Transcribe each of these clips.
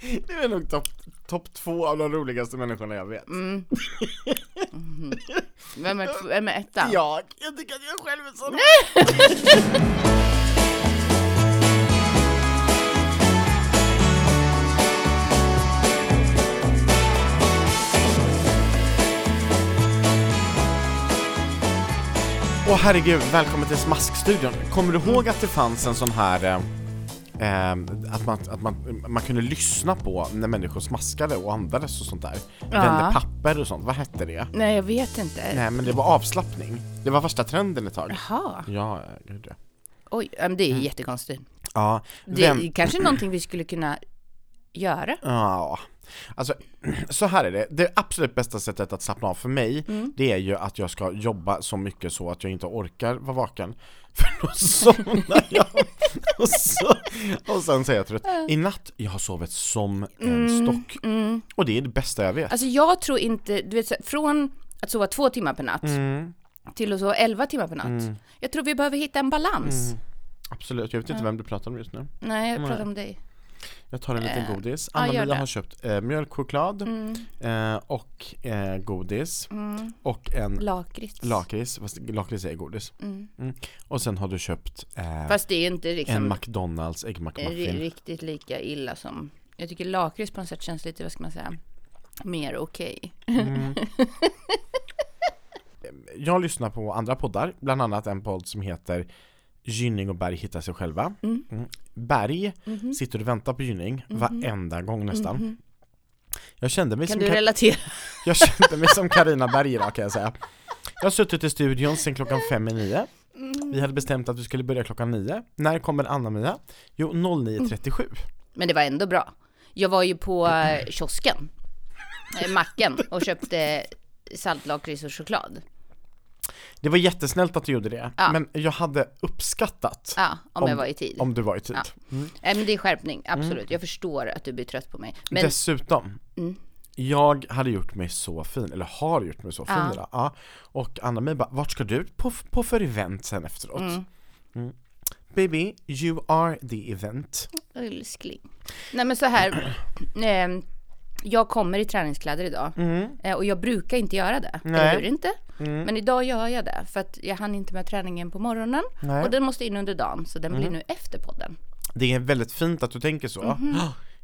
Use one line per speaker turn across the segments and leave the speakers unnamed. Du är nog topp top två av de roligaste människorna jag vet.
Mm. Mhm. Vem är, tw- vem är ettan?
Jag, jag tycker att jag själv är så rolig. Åh herregud, välkommen till Smaskstudion. Kommer du ihåg att det fanns en sån här eh, eh, att, man, att man, man kunde lyssna på när människor smaskade och andades och sånt där? Vände papper och sånt, vad hette det?
Nej, jag vet inte.
Nej men det var avslappning. Det var värsta trenden ett tag.
Jaha,
Ja, ja, gud ja.
oj, ja, men det är jättekonstigt.
Ja,
Det
Mm. vem,
är kanske någonting vi skulle kunna göra.
ja. Alltså, så här är det. Det absolut bästa sättet att slappna av för mig,
Mm.
det är ju att jag ska jobba så mycket så att jag inte orkar vara vaken. För då somnar jag. Och, så, och sen säger jag trött. I natt, jag har sovit som en stock.
Mm.
Och det är det bästa jag vet.
Alltså jag tror inte, du vet så här, från att sova två timmar per natt
Mm,
till att sova elva timmar per natt. Jag tror vi behöver hitta en balans.
Mm. absolut, jag vet inte vem du pratar om just nu.
Nej, jag pratar
Nej.
om dig.
Jag tar en liten
Eh,
godis.
ja, gör
Anna-Mia
det.
har köpt eh, mjölkchoklad
Mm,
eh, och eh, godis
mm.
och en
Lakrits.
Lakrits, fast lakrits är godis.
Mm.
Och sen har du köpt eh,
Fast det är ju inte
en
liksom eh,
McDonalds
ri-
äggmackmuffin.
riktigt lika illa som, jag tycker lakrits på något sätt känns lite, vad ska man säga, mer okej.
Jag lyssnar på andra poddar, bland annat en podd som heter Gynning och Berg hittar sig själva.
Mm. Mhm.
Mm. Berg sitter och väntar på Gynning varenda gång nästan. Jag kände mig
Kan
som
du
Ka-
relatera?
jag kände mig som Carina Berg idag kan jag säga. Jag har suttit i studion sedan klockan fem i nio.
Mm.
Vi hade bestämt att vi skulle börja klockan nio. När kommer Anna-Mia? Jo, 09.37.
Men det var ändå bra. Jag var ju på eh, kiosken, eh, macken, och köpte saltlakrits och choklad.
Det var jättesnällt att du gjorde det,
Ja.
men jag hade uppskattat
Ja, om,
Om-
jag var i tid.
om Mm. du typ. var i tid.
Nej men det är skärpning, absolut. Jag förstår att du blir trött på mig. Men
Dessutom,
Mm.
jag hade gjort mig så fin, eller har gjort mig så fin
Ja.
idag. Ja. Och Anna-Mi bara, vart ska du på, på för event sen efteråt? Mm. Baby, you are the event.
älskling. Nej men så här, eh, jag kommer i träningskläder idag. Eh, och jag brukar inte göra det,
Mm. Nej. Mm.
eller hur? Inte? Men idag gör jag det, för att jag hann inte med träningen på morgonen.
Nej. Mm.
Och den måste in under dagen, så den blir nu efter podden.
Det är väldigt fint att du tänker så.
Mhm.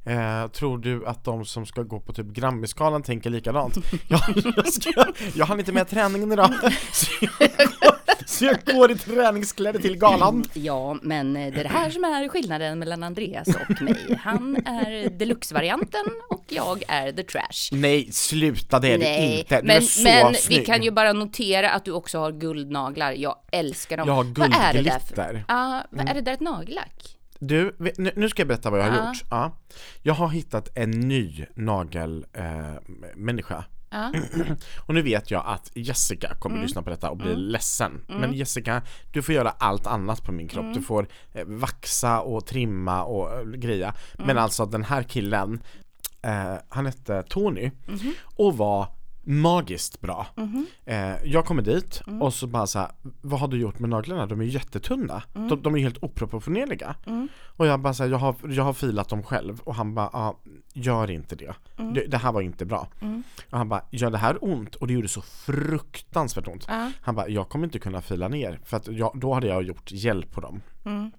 Eh, tror du att de som ska gå på typ Grammisgalan tänker likadant? Jag, jag, ska, jag hann inte med träningen idag, så jag, går, så jag går i träningskläder till galan.
Ja, men eh, det är det här som är skillnaden mellan Andreas och mig. Han är deluxe-varianten och jag är the trash.
Nej, sluta det är du inte. Du
men,
är så
men
snygg.
vi kan ju bara notera att du också har guldnaglar. Jag älskar dem.
Jag har
Vad är det där för-
guldglitter. Mm.
Ja, vad är det där ett nagellack?
Du, vet- nu nu ska jag berätta vad jag har
Ja.
gjort. Ja. Jag har hittat en ny nagelmänniska. Eh, människa.
Ja, Mm.
och nu vet jag att Jessica kommer lyssna på detta och bli ledsen. Men Jessica, du får göra allt annat på min kropp.
Mm.
Du får eh, vaxa och trimma och eh, greja. Men
Mm.
alltså den här killen, eh, han hette Tony och var magiskt bra. Eh, jag kommer dit och så bara så här, vad har du gjort med naglarna? De är jättetunna. De, de är helt oproportionerliga. Och jag bara så här, jag har, jag har filat dem själv och han bara, ah, gör inte det. det. Det här var inte bra. Och han bara, gör det här ont? Och det gjorde så fruktansvärt ont.
ja,
Han bara, jag kommer inte kunna fila ner för att jag, då hade jag gjort hjälp på dem.
Mm.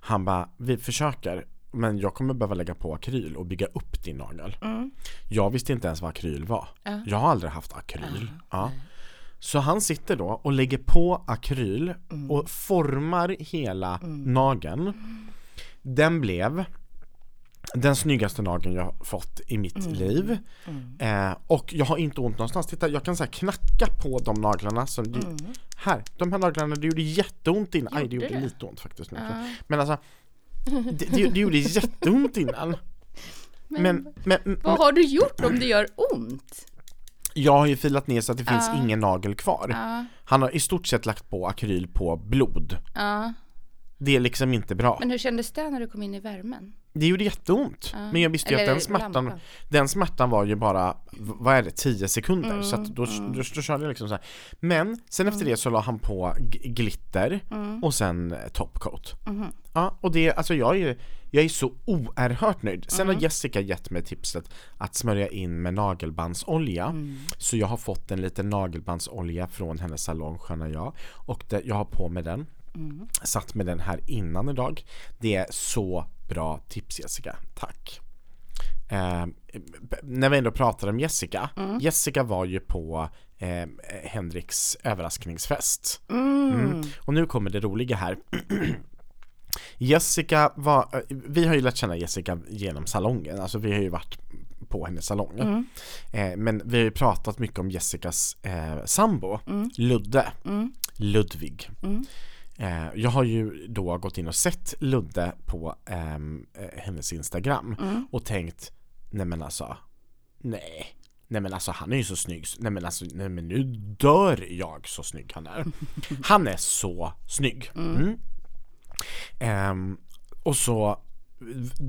Han bara, vi försöker men jag kommer behöva lägga på akryl och bygga upp din nagel.
Mm.
Jag visste inte ens vad akryl var.
Ja.
Jag har aldrig haft akryl. Ja. Så han sitter då och lägger på akryl
Mm.
och formar hela nageln. Den blev den snyggaste nageln jag har fått i mitt
Mm.
liv. Eh, och jag har inte ont någonstans. Titta, jag kan så här knacka på de naglarna. Som det- Här, de här naglarna, det gjorde jätteont innan. Aj, det
Mm. Gjorde
gjorde
det?
lite ont faktiskt. Nu.
Ja.
Men alltså, det, det, det gjorde jätteont innan.
Men-
Men, men, men,
Vad har du gjort om det gör ont?
jag har ju filat ner så att det finns
Ja.
ingen nagel kvar.
Ja,
Han har i stort sett lagt på akryl på blod.
ja.
Det är liksom inte bra.
Men hur kändes det när du kom in i värmen?
det gjorde jätteont.
Ja.
Men jag visste ju att
Eller
den smärtan,
lampa.
den smärtan var ju bara, v- vad är det, 10 sekunder.
Mm,
så att då, då, då körde jag liksom så här. Men sen efter det så la han på g- glitter
Mm.
och sen eh, topcoat.
Mm-hmm.
Ja, och det, alltså jag är ju, jag är så oerhört nöjd. Sen
Mm.
har Jessica gett mig tipset att smörja in med nagelbandsolja.
Mm.
Så jag har fått en liten nagelbandsolja från hennes salong Sköna jag. Och det, jag har på mig den satt med den här innan idag. Det är så bra tips Jessica, tack. Eh, b- när vi ändå pratar om Jessica, Jessica var ju på eh, Henriks överraskningsfest. Mm. Och nu kommer det roliga här. Jessica var, eh, vi har ju lärt känna Jessica genom salongen, alltså vi har ju varit på hennes salong. Eh, men vi har ju pratat mycket om Jessicas eh, sambo, Ludde, Ludvig. Eh, jag har ju då gått in och sett Ludde på ehm, eh, hennes Instagram och tänkt, nej men alltså, nej. Nej men alltså han är ju så snygg, nej men alltså nej men nu dör jag så snygg han är. Han är så snygg. Mm. Ehm, och så,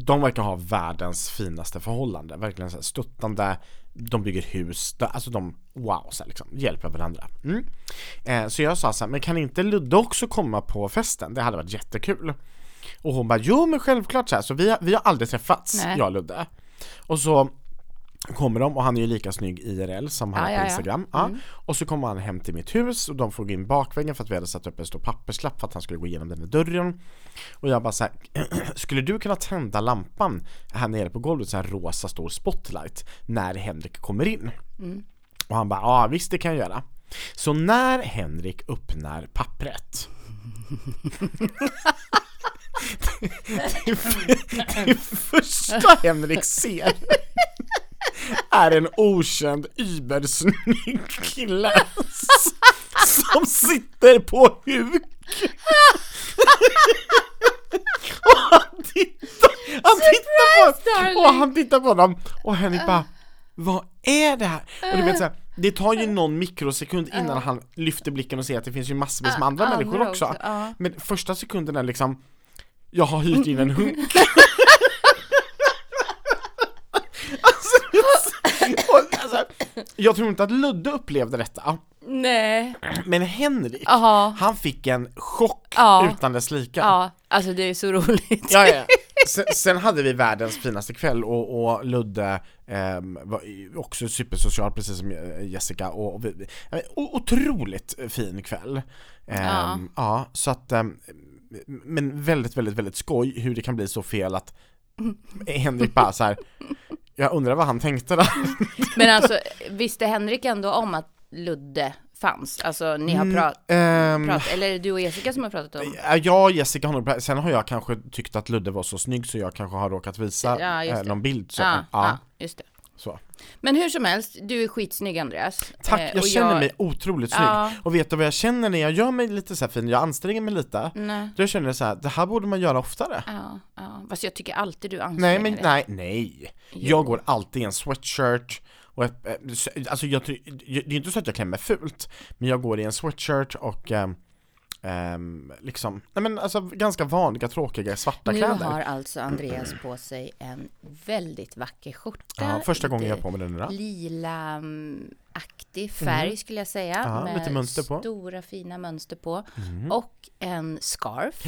de verkar ha världens finaste förhållande, verkligen så här stöttande, de bygger hus, de- alltså de, wow, så här liksom, hjälper varandra. Mm. Eh, så jag sa så här, men kan inte Ludde också komma på festen? Det hade varit jättekul. Och hon bara, jo men självklart så här, så vi har, vi har aldrig träffats,
Nej.
jag och Ludde. Och så kommer de och han är ju lika snygg IRL som han
Ja,
är
ja, Mm.
på
ja.
Instagram. Ja. Och så kommer han hem till mitt hus och de får gå in bakvägen för att vi hade satt upp en stor papperslapp för att han skulle gå igenom den här dörren. Och jag bara så här, skulle du kunna tända lampan här nere på golvet, så här rosa stor spotlight, när Henrik kommer in?
Mm.
Och han bara, ja visst det kan jag göra. Så när Henrik öppnar pappret det, det, det första Henrik ser är en okänd übersnygg kille s- som sitter på huk. Och han tittar, han tittar
Surprise,
på, och han tittar på dem och Henrik bara Vad är det här? Och du vet så här, det tar ju någon mikrosekund innan han lyfter blicken och ser att det finns ju massvis med andra
andra
människor också.
också, ja.
Men första sekunden är liksom Jag har hyrt in en hunk Alltså, Och, alltså, jag tror inte att Ludde upplevde detta,
Nej.
men Henrik,
Jaha.
han fick en chock
Ja.
utan dess lika.
Ja, alltså det är så roligt.
Ja, ja. Sen, sen hade vi världens finaste kväll och, och Ludde ehm, var ju också supersocial precis som eh, Jessica och, och, vi- ja, men o- otroligt fin kväll. Ehm,
Ja.
ja, så att ehm, men väldigt, väldigt, väldigt skoj hur det kan bli så fel att Henrik bara så här. jag undrar vad han tänkte där.
Men alltså, visste Henrik ändå om att Ludde fanns? Alltså ni har pratat,
Ehm,
prat, eller är det du och Jessica som har pratat om?
Ja, Jag och Jessica har nog, sen har jag kanske tyckt att Ludde var så snygg så jag kanske har råkat visa
Ja, just
eh,
det.
någon bild så.
Ja,
ja,
ja, just det.
så.
Men hur som helst, du är skitsnygg Andreas.
Tack,
Eh,
jag
och
känner mig otroligt snygg.
Ja.
Och vet du vad jag känner när jag gör mig lite så här fin, jag anstränger mig lite,
Nej.
då känner jag så här, det här borde man göra oftare.
Ja, ja. Fast jag tycker alltid du anstränger
Nej men
dig.
nej, nej. Jag går alltid i en sweatshirt och ett, eh, s- alltså jag, ty- det är inte så att jag klär mig fult, men jag går i en sweatshirt och ehm, ehm, liksom, nej men alltså ganska vanliga tråkiga svarta
Nu
kläder.
har alltså Andreas på sig en väldigt vacker skjorta.
Ja, första gången jag har på mig
lite
den idag.
Lila-aktig färg skulle jag säga.
Ja,
med
lite mönster på. Mhm.
stora fina mönster på. Och en scarf.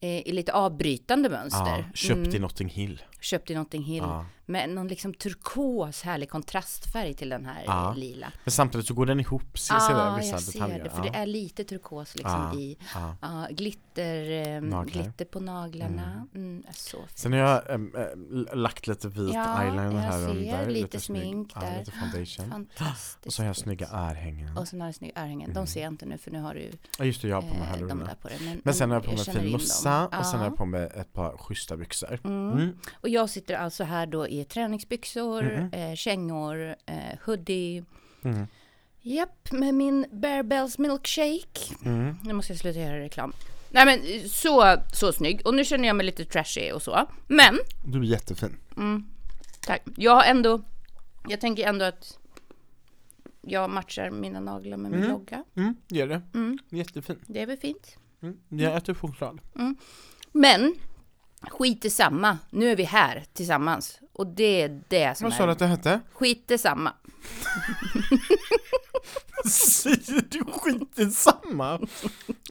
eh, I lite avbrytande mönster. Mm,
Ja, köpt i Notting Hill.
Köpt i Notting Hill. Med någon liksom turkos härlig kontrastfärg till den här eh, lila.
Men samtidigt så går den ihop, ser
Ja,
ser där vissa
jag ser
detaljer.
det. För
ja.
det är lite turkos liksom i ja, glitter, ehm,
Naglar.
glitter på naglarna. Mm. är så fint.
Sen har jag äm, äh, lagt lite vit
Ja,
eyeliner
jag
här och
ser
där.
lite
snygg-
smink
Ja,
där.
lite foundation.
Fantastiskt.
Och så har jag
fint.
snygga örhängen.
Och sen har jag snygga örhängen. De ser jag inte nu för nu har du
Ja just det, jag har på mig
eh, de
hörlurarna.
där på dig. Men,
Men sen har jag på mig en
känner
fin
in dem.
mössa och sen har
Ja. Mm.
jag på mig ett par schyssta byxor. Mm.
Och jag sitter alltså här då i träningsbyxor,
Mhm.
eh, kängor, eh, hoodie.
Mm.
Japp, med min Bear Bells milkshake.
Mm.
Nu måste jag sluta göra reklam. Nej men eh, så, så snygg. Och nu känner jag mig lite trashy och så. Men,
Du är jättefin.
tack. Jag har ändå, jag tänker ändå att jag matchar mina naglar med min logga.
Mm, gör det. Jättefin.
Det är väl fint.
Mm. Jag äter choklad.
Men Skit i samma. Nu är vi här tillsammans. Och det är det som
Vad sa du
är.
att det hette?
Skit i samma.
Säger du skitsamma?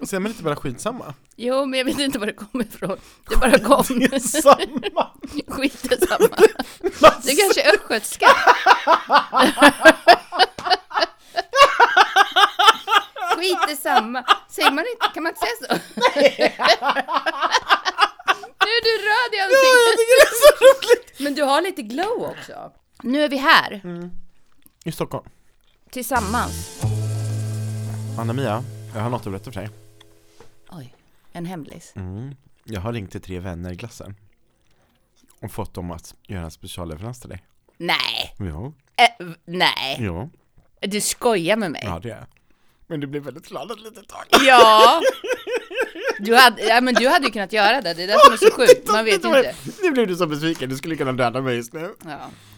Säger man inte bara skitsamma?
Jo, men jag vet inte var det kommer ifrån. Det bara kom.
Samma!
Skit i samma. Det kanske är östgötska. Skit i samma. Säger man inte, kan man inte säga så? nu är du röd i ansiktet.
tycker det är så roligt!
Men du har lite glow också. Nu är vi här,
I Stockholm.
tillsammans.
Anna-Mia, jag har något att berätta för dig.
Oj, en hemlis.
Mm. Jag har ringt till tre vänner i klassen. Och fått dem att göra en specialleverans till dig.
Nej,
Jo,
eh, v- nej.
jo,
Du skojar med mig.
ja det är jag. Men du blev väldigt glad ett litet tag.
Ja. Du hade, ja, men du hade ju kunnat göra det. Det är det som är så sjukt. Man vet ju inte.
Nu blev du så besviken, du skulle kunna döda mig just nu.
Ja,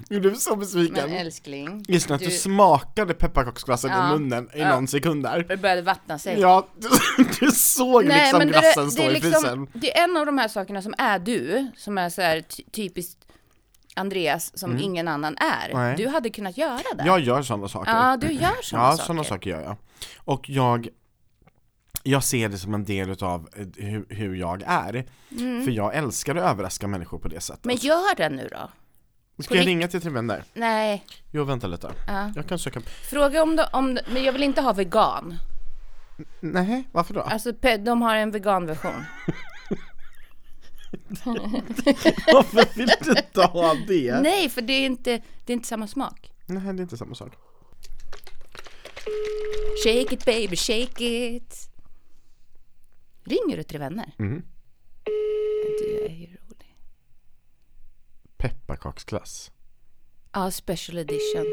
Du blev så
men
besviken.
älskling.
Gissa att du
du-
smakade pepparkaksglassen i
Ja.
munnen i
Ja.
någon sekund där.
Det började vattna sig.
Ja, du, du såg liksom
det-
glassen stå
det är
i
liksom-
frysen.
Det är en av de här sakerna som är du, som är så här ty- typiskt Andreas som ingen annan är.
Mm. Nej.
Du hade kunnat göra det.
Jag gör sådana saker.
ja, du gör sådana
Ja,
saker.
sådana saker gör jag. Och jag, jag ser det som en del utav eh, hur, hur jag är.
Mm.
För jag älskar att överraska människor på det sättet.
Men gör det nu då.
Ska jag
rikt-
ringa till tre vänner?
Nej,
Jo, vänta lite.
Ja.
Jag kan söka...
fråga om de, om, men jag vill inte ha vegan.
Nej, varför då?
Alltså pe- de har en veganversion.
Varför vill du inte ha det?
Nej, för det är, inte, det är inte samma smak.
Nej, det är inte samma sak.
Shake it baby, shake it. Ringer du till vänner?
Mm.
Du är ju rolig.
Pepparkaksglass.
Ja, special edition.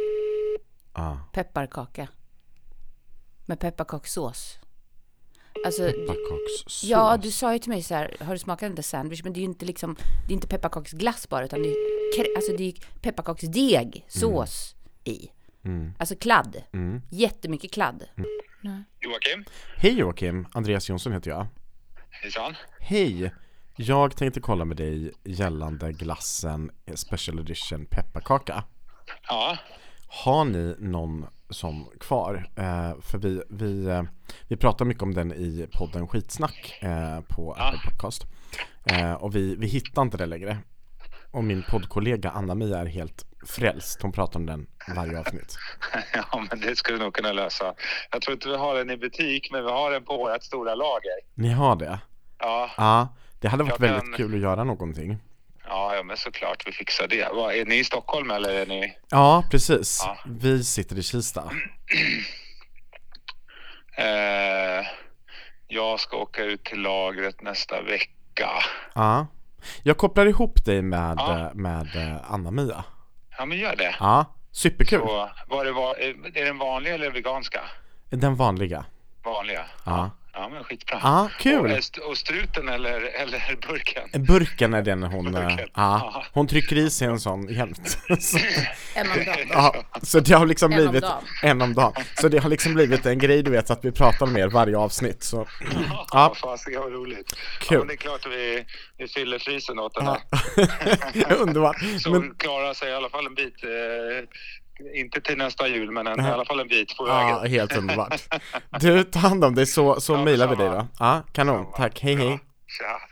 Ah.
pepparkaka. Med pepparkakssås. Alltså,
Pepparkakssås.
ja du sa ju till mig så här, har du smakat den där sandwich? Men det är ju inte liksom, det är inte pepparkaksglass bara utan det är, kr- alltså det är ju pepparkaksdeg, sås i.
Mm.
Alltså kladd.
Mm.
Jättemycket kladd.
Joakim,
Hej Joakim, Andreas Jonsson heter jag.
hejsan.
Hej! Jag tänkte kolla med dig gällande glassen eh, Special Edition pepparkaka.
Ja,
Har ni någon som kvar? Eh, för vi, vi, eh, vi pratar mycket om den i podden Skitsnack eh, på Apple Podcast. Eh, och vi, vi hittar inte det längre. Och min poddkollega Anna-Mia är helt frälst. Hon pratar om den varje avsnitt.
ja men det skulle du nog kunna lösa. Jag tror inte vi har den i butik, men vi har den på vårt stora lager.
Ni har det?
Ja,
Ja, det hade varit
Jag kan-
väldigt kul att göra någonting.
ja, ja men såklart vi fixar det. Vad, är ni i Stockholm eller är ni...
Ja, precis.
Ja.
Vi sitter i Kista.
Eh, jag ska åka ut till lagret nästa vecka.
Ja. Jag kopplar ihop dig med,
Ja.
eh, med eh, Anna-Mia.
Ja, men gör det.
Ja, superkul.
Så, var det var, är det den vanliga eller veganska?
Den vanliga.
Vanliga.
Ja.
Ja, men skitbra.
Ja,
Och,
kul.
är st- och struten eller, eller burken?
Burken är den hon, eh,
Burken.
ja,
Ja.
hon trycker i sig en sån jämt. Så,
En om dagen.
ja, så det har liksom
En om
blivit
dagen.
en om dagen. Så det har liksom blivit en grej du vet att vi pratar om er varje avsnitt. Så ja,
Vad fasiken vad roligt.
Kul.
Ja, men det är klart att vi, vi fyller frysen åt den
ja.
här.
underbart.
Så
Men
klarar sig i alla fall en bit. Eh, inte till nästa jul, men en, i alla fall en bit på
Ja,
vägen.
helt underbart. Du, ta hand om dig så, så
Ja,
mejlar vi dig
detsamma.
då. Ja, kanon. Tack, hej hej.
Tja.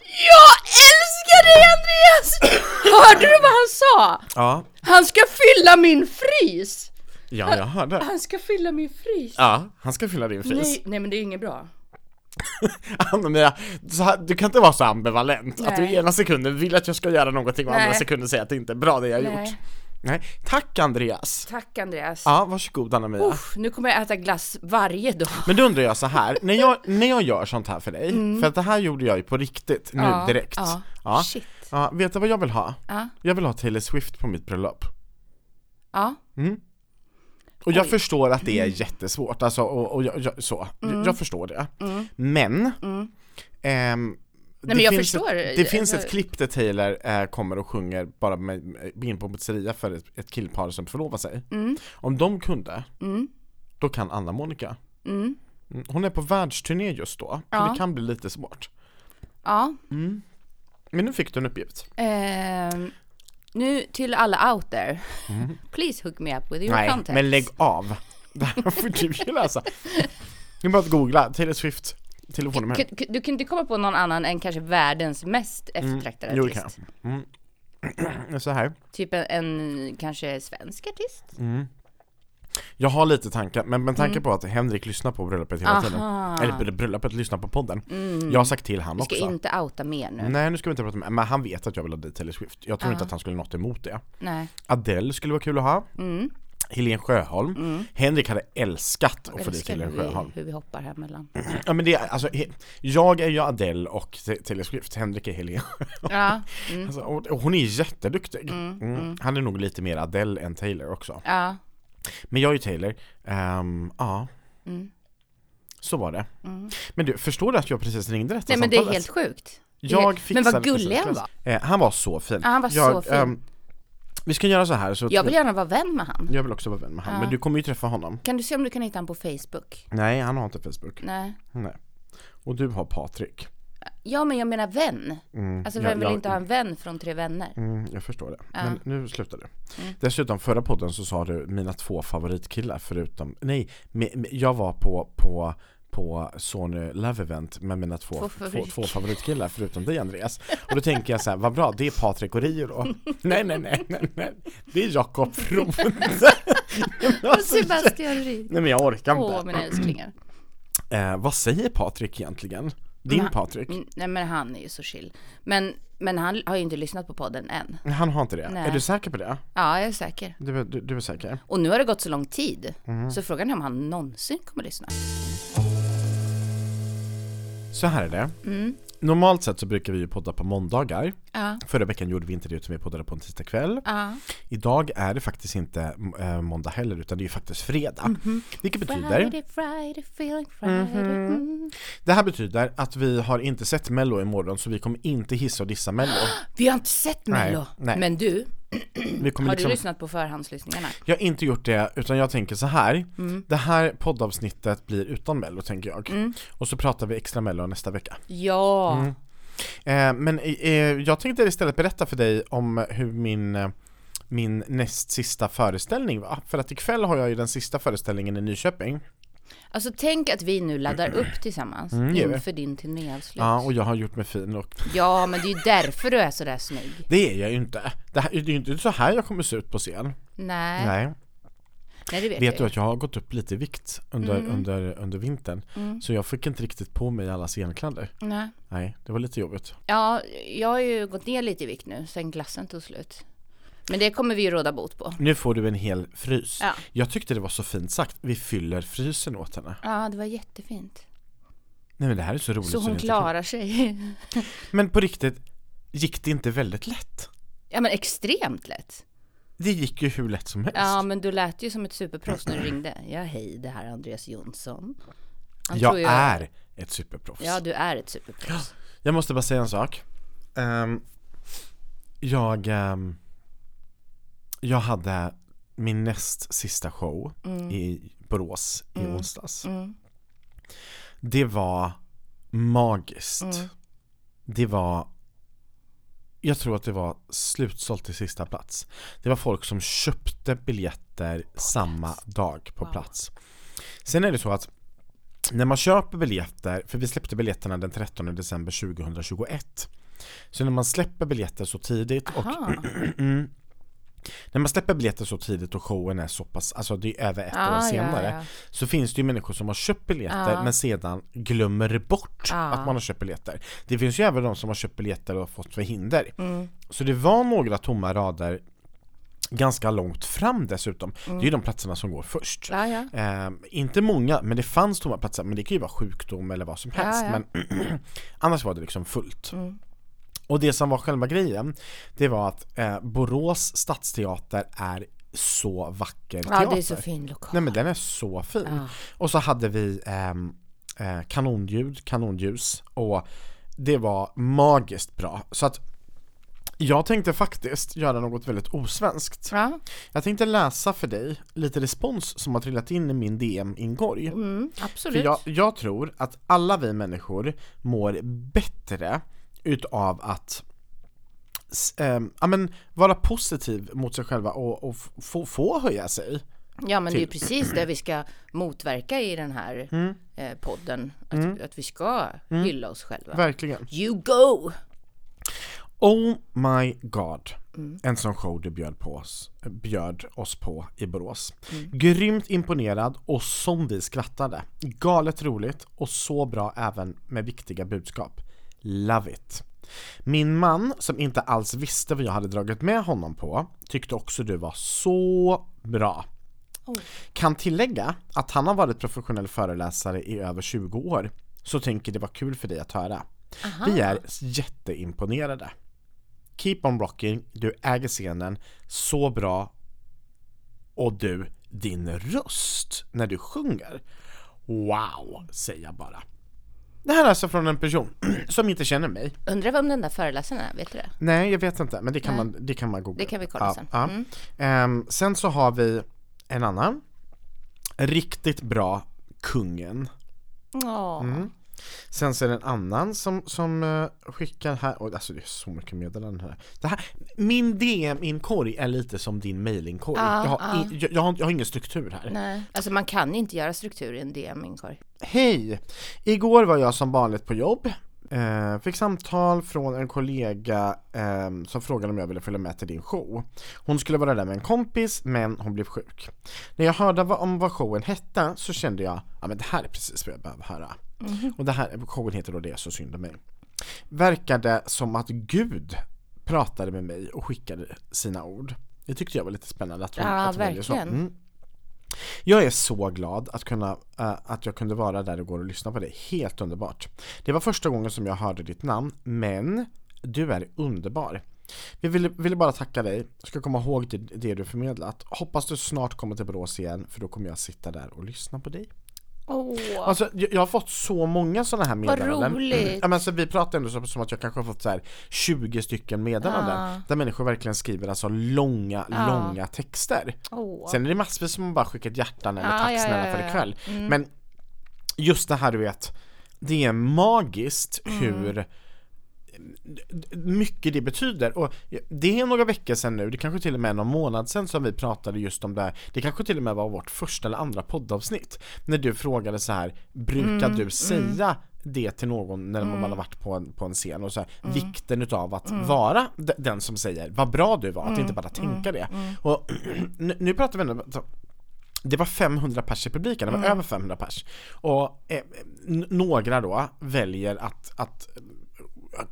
Jag älskar dig Andreas! Hörde du vad han sa?
Ja,
Han ska fylla min frys!
ja jag hörde.
Han ska fylla min frys!
Ja, han ska fylla din fris.
Nej, nej men det är inget bra.
Anna-Mia, så här- du kan inte vara så ambivalent. Att du
Nej.
ena sekunden vill att jag ska göra någonting och andra
Nej.
sekunden säger att det inte är bra det jag har
Nej.
gjort. Nej. Tack Andreas!
Tack Andreas.
Ja, varsågod Anna-Mia.
Uff, nu kommer jag äta glass varje dag.
Men då undrar jag så här, när jag, när jag gör sånt här för dig, för att det här gjorde jag ju på riktigt nu
Mm. Ja,
direkt.
ja.
Ja.
Shit.
Ja, vet du vad jag vill ha?
Ja.
Jag vill ha Taylor Swift på mitt bröllop.
Ja.
Och jag
Oj. Mm.
förstår att det är jättesvårt, alltså, och, och jag, jag, så. Jag- Jag förstår det. Men, ehm,
Mm. men jag
finns
förstår. Alltså-
Ett, det finns ett
Jag-
klipp där Taylor eh, kommer och sjunger bara med, med, in på en pizzeria för ett, ett killpar som förlovar sig.
Mm.
Om de kunde, då kan Mm, Anna Monica. Mm. Hon är på världsturné just då, så
Ja.
det kan bli lite svårt.
Ja.
Men nu fick du en uppgift.
Ehm, nu till alla out there. Please hook me up with your
Mm. Nej,
contacts.
men lägg av. Det här får du ju läsa. Det är bara att googla Taylor Swift telefonnummer.
K- k- Du kan inte komma på någon annan än kanske världens mest eftertraktade
Mm. Jo, det kan
artist.
jag. Mm. Så här.
Typ en, en kanske svensk artist?
Jag har lite tankar, men med tanke på att Henrik lyssnar på bröllopet hela
Mm. Aha.
tiden Eller br- bröllopet, lyssnar på podden Jag har sagt till han
Du ska
också Mm.
inte outa mer nu.
Nej nu ska vi inte prata med, men han vet att jag vill ha dit Taylor Swift Jag tror inte att han skulle något emot det
Nej.
Adele skulle vara kul att ha
Mm.
Helene Sjöholm Henrik hade älskat att få dit
Älskar
Helene
hur vi-
Sjöholm
Hur vi hoppar här mellan.
Ja men det, är- alltså, he- jag är ju Adele och T- Taylor Swift, Henrik är Helene
Ja, mm,
alltså, och, och hon är jätteduktig mm. Han är nog lite mer Adele än Taylor också
ja.
Men jag är ju Taylor, Ehm, ja
Mm.
Så var det Men du, förstår du att jag precis ringde detta
Nej men det är
samtalet?
helt sjukt.
Jag
men
fixade
vad gullig
precis
han
klass.
var.
Eh, han var så fin.
Ja, han var så
jag,
fin.
ehm, vi ska göra så här. Så att
Jag vill gärna vara vän med han.
jag vill också vara vän med han,
Ja.
men du kommer ju träffa honom.
Kan du se om du kan hitta han på Facebook?
Nej, han har inte Facebook.
Nej.
Nej. Och du har Patrik.
Ja men jag menar vän. Alltså
Mm. ja,
vem vill
ja,
inte ha en vän från Tre Vänner?
Mm, jag förstår det. Men nu slutar du.
Mm.
Dessutom, förra podden så sa du mina två favoritkillar förutom, nej, me- me- jag var på, på på Sony Love Event med mina två, två,
Två
två,
favorit-
favoritkillar förutom dig Andreas. Och då tänker jag så här, vad bra, det är Patrik och Rio då. Nej, nej, nej, nej, nej. Det är Jakob Froome.
Och Sebastian Ryd.
Nej men jag orkar inte.
Åh mina älsklingar.
Eh, vad säger Patrik egentligen? Din
Men-
Patrik?
Mm, Nej men han är ju så chill. Men, men han har ju inte lyssnat på podden än.
Han har inte det.
Mm. Nej.
Är du säker på det?
Ja jag är säker.
Du, du, du är säker?
Och nu har det gått så lång tid.
Mm.
Så frågan är om han någonsin kommer lyssna.
Så här är det.
Mm.
Normalt sett så brukar vi ju podda på måndagar.
Ja.
Förra veckan gjorde vi inte det utan vi poddade på en tisdagkväll.
Ja.
Idag är det faktiskt inte eh, måndag heller utan det är ju faktiskt fredag.
Mhm.
Vilket betyder,
Friday, Friday, feeling Friday.
Mhm.
Mm.
det här betyder att vi har inte sett mello imorgon så vi kommer inte hissa och dissa mello.
Vi har inte sett
Nej,
Mello.
nej.
Men du,
Vi kommer
har
liksom-
du lyssnat på förhandslyssningarna?
Jag har inte gjort det utan jag tänker så här.
Mm.
Det här poddavsnittet blir utan mello tänker jag. Och så pratar vi extra mello nästa vecka.
Ja.
Mm. Eh, men eh, jag tänkte istället berätta för dig om hur min, eh, min näst sista föreställning var. För att ikväll har jag ju den sista föreställningen i Nyköping.
Alltså tänk att vi nu laddar upp tillsammans
Mm, det gör vi.
inför din turnéavslut.
Ja,
Ja,
och jag har gjort mig fin och
men det är ju därför du är sådär snygg.
det är jag ju inte. Det, här, det är ju inte så här jag kommer se ut på scen.
Nej, nej,
Nej.
det
Vet
vet, jag
du
ju. Mm.
att jag har gått upp lite i vikt under, under, under vintern. Så jag fick inte riktigt på mig alla scenkläder.
Nej.
Nej, det var lite jobbigt.
Ja, jag har ju gått ner lite i vikt nu sen glassen tog slut. Men det kommer vi ju råda bot på.
Nu får du en hel frys.
Ja.
Jag tyckte det var så fint sagt. Vi fyller frysen åt henne.
Ja, det var jättefint.
Nej men det här är så roligt. liksom.
Så
det
hon
inte kan-
klarar sig.
Men på riktigt, gick det inte väldigt lätt?
Ja, men extremt lätt.
Det gick ju hur lätt som helst.
Ja, men du lät ju som ett superproffs när du ringde. Ja, hej, det här är Andreas Jonsson. Han
jag
tror
är ett superproffs.
Ja, du är ett superproffs.
Jag måste bara säga en sak. Ehm, jag, ehm, jag hade min näst sista show
Mm.
i Borås i onsdags. Det var magiskt.
Mm.
Det var jag tror att det var slutsålt till sista plats. Det var folk som köpte biljetter samma dag på
Wow.
plats. Sen är det så att när man köper biljetter, för vi släppte biljetterna den 13 december 2021. Så när man släpper biljetter så tidigt och
Aha.
när man släpper biljetter så tidigt och showen är så pass, alltså det är över ett
Ah,
år
ja,
senare.
ja.
Så finns det ju människor som har köpt biljetter men sedan glömmer bort
Ah.
att man har köpt biljetter. Det finns ju även de som har köpt biljetter och fått förhinder.
Mm.
Så det var några tomma rader ganska långt fram dessutom. Det är
Mm.
ju de platserna som går först.
Ja, ja.
Eh, inte många, men det fanns tomma platser. Men det kan ju vara sjukdom eller vad som helst.
ja. Mm.
Men annars var det liksom fullt. Och det som var själva grejen, det var att eh, Borås stadsteater är så vacker teater.
Ja, det är så fin lokal.
Nej men den är så fin. Och så hade vi ehm, eh, kanonljud, kanonljus och det var magiskt bra. Så att jag tänkte faktiskt göra något väldigt osvenskt.
Ja,
Jag tänkte läsa för dig lite respons som har trillat in i min DM-inkorg.
mm,
För
absolut.
jag, jag tror att alla vi människor mår bättre utav att s- ehm, ja, men, vara positiv mot sig själva och, och f- få, få höja sig.
Ja, men det är ju
till- Mm.
precis det vi ska motverka i den här eh, podden. Att, att vi ska hylla oss själva.
Verkligen.
You go!
Oh my god. En sån show du bjöd, på oss, bjöd oss på i Borås. Grymt imponerad och som vi skrattade. Galet roligt och så bra även med viktiga budskap. Love it. Min man, som inte alls visste vad jag hade dragit med honom på, tyckte också du var så bra. Kan tillägga att han har varit professionell föreläsare i över 20 år, så tänker det var kul för dig att höra. Vi är jätteimponerade. Keep on rocking, du äger scenen, så bra och du, din röst när du sjunger. Wow, säger jag bara. Det här är alltså från en person som inte känner mig.
Undrar vem den där föreläsaren är, vet du det?
Nej, jag vet inte, men det kan, man, det kan man googla.
Det kan vi kolla
ja,
sen. Mm.
Ja. Ehm, sen så har vi en annan. Riktigt bra, kungen.
Ja,
Mm. Sen så är det en annan som, som eh, skickar här, oj alltså det är så mycket meddelanden här. Det här min DM-inkorg är lite som din mailinkorg.
Ja,
jag, har i- jag, jag, har, jag har ingen struktur här.
nej. Alltså man kan inte göra struktur i en DM-inkorg.
Hej! Igår var jag som vanligt på jobb. Eh, fick samtal från en kollega ehm, som frågade om jag ville följa med till din show. Hon skulle vara där med en kompis men hon blev sjuk. När jag hörde vad, om vad showen hette så kände jag ja men det här är precis vad jag behöver höra.
Mhm.
Och det här, showen heter då Det är så synd om mig. Verkade som att Gud pratade med mig och skickade sina ord. Det tyckte jag var lite spännande att hon,
Ja,
att hon väljer så.
verkligen.
Mm. Jag är så glad att, kunna, eh, att jag kunde vara där igår och lyssna på dig. Helt underbart. Det var första gången som jag hörde ditt namn, men du är underbar. Vi ville, ville bara tacka dig, ska komma ihåg det, det du förmedlat. Hoppas du snart kommer till Borås igen för då kommer jag sitta där och lyssna på dig.
Åh,
Alltså jag, jag har fått så många sådana här meddelanden.
roligt.
Ja, men alltså, vi pratar ändå som, som att jag kanske har fått så här 20 stycken meddelanden
Ja.
där människor verkligen skriver alltså långa, långa texter.
åh.
Sen är det massvis som bara skickat hjärtan eller
Ja,
tack
ja,
snälla
ja, Mm.
för
ja.
ikväll. Men just det här du vet, det är magiskt
Mm.
hur mycket det betyder och det är några veckor sedan nu, det kanske till och med är någon månad sedan som vi pratade just om det här. Det kanske till och med var vårt första eller andra poddavsnitt när du frågade så här, brukar
Mm,
du säga det till någon när man har varit på en, på en scen och så här,
Mm.
vikten utav att vara d- den som säger vad bra du var,
Mm.
att inte bara tänka det. Och nu, nu pratar vi ändå det var 500 pers i publiken, det var över 500 pers. Och eh, n- några då väljer att, att eh,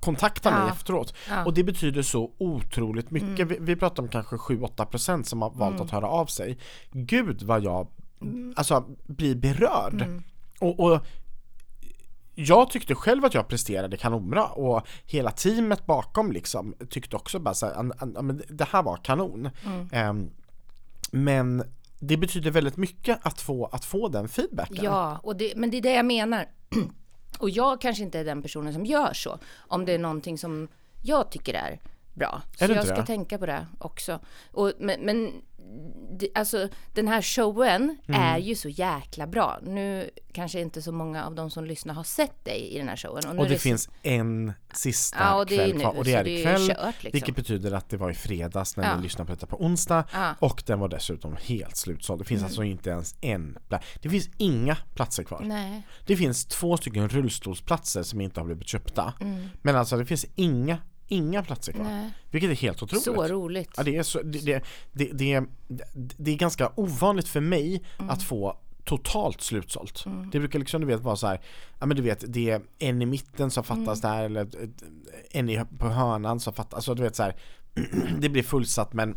kontakta mig
Ja.
efteråt.
Ja. Mm.
Och det betyder så otroligt mycket. Vi, vi pratar om kanske 7-8% som har valt att höra av sig. Gud vad jag alltså, blir berörd.
Mm.
Och, och jag tyckte själv att jag presterade kanonbra och hela teamet bakom liksom tyckte också bara så här, "An- an- ja, men det här var kanon.
Mm.
Ehm, men det betyder väldigt mycket att få, att få den feedbacken.
Ja, och det, men det är det jag menar. Och jag kanske inte är den personen som gör så. Om det är någonting som jag tycker är bra. Så
Är det
jag
inte
ska
det?
tänka på det också. Och, men men det, alltså, den här showen
Mm.
är ju så jäkla bra. Nu kanske inte så många av de som lyssnar har sett dig i den här showen. nu
Och
är
det finns en sista
Ja, och det är
kväll
ju nu,
kvar och det
så
är
det är ju
ikväll.
kört, liksom.
Vilket betyder att det var i fredags när
Ja.
ni lyssnar på detta på onsdag
Ja. Mm.
och den var dessutom helt slutsåld. Det finns alltså inte ens en plats. Det finns inga platser kvar.
Nej.
Det finns två stycken rullstolsplatser som inte har blivit köpta. Men alltså det finns inga, inga platser kvar.
Mm. Nej.
Vilket är helt otroligt.
Så roligt.
Ja, det, är så, det, det, det, det, är- det är ganska ovanligt för mig att få totalt slutsålt. Det brukar liksom du vet vara så här, ja men du vet det är en i mitten som fattas där eller eh, en i, på hörnan som fattas, alltså du vet så här, det blir fullsatt men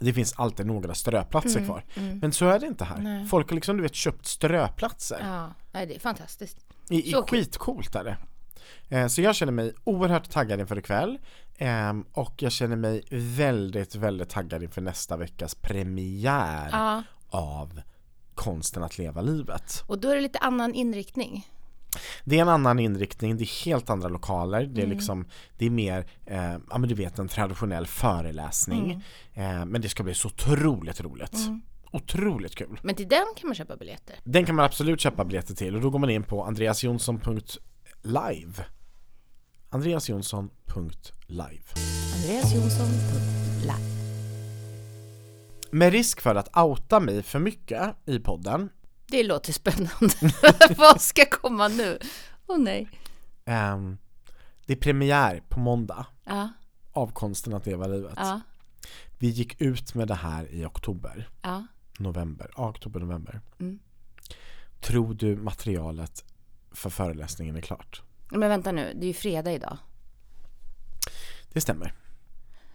det finns alltid några ströplatser kvar. Men så är det inte här. Folk har liksom du vet köpt ströplatser.
Ja, nej, det är fantastiskt.
I, i
Så kul.
skitcoolt är det. Eh, Så jag känner mig oerhört taggad inför ikväll Ehm, och jag känner mig väldigt, väldigt taggad inför nästa veckas premiär
Ja.
av Konsten att leva livet.
Och då är det lite annan inriktning.
Det är en annan inriktning, det är helt andra lokaler, det är liksom Det är mer, eh, ja men du vet en traditionell föreläsning eh, Men det ska bli så otroligt roligt Otroligt kul!
Men till den kan man köpa biljetter.
Den kan man absolut köpa biljetter till och då går man in på andreasjonsson.live Andreasjonsson.live
Andreas andreasjonsson.live.
Med risk för att outa mig för mycket i podden
Det låter spännande. Vad ska komma nu? Åh nej.
ehm, Det är premiär på måndag
Ja,
av Konsten att leva livet
ja,
Vi gick ut med det här i oktober
ja.
november, ja, oktober, november.
Mm.
Tror du materialet för föreläsningen är klart?
Men vänta nu, det är ju fredag idag.
Det stämmer.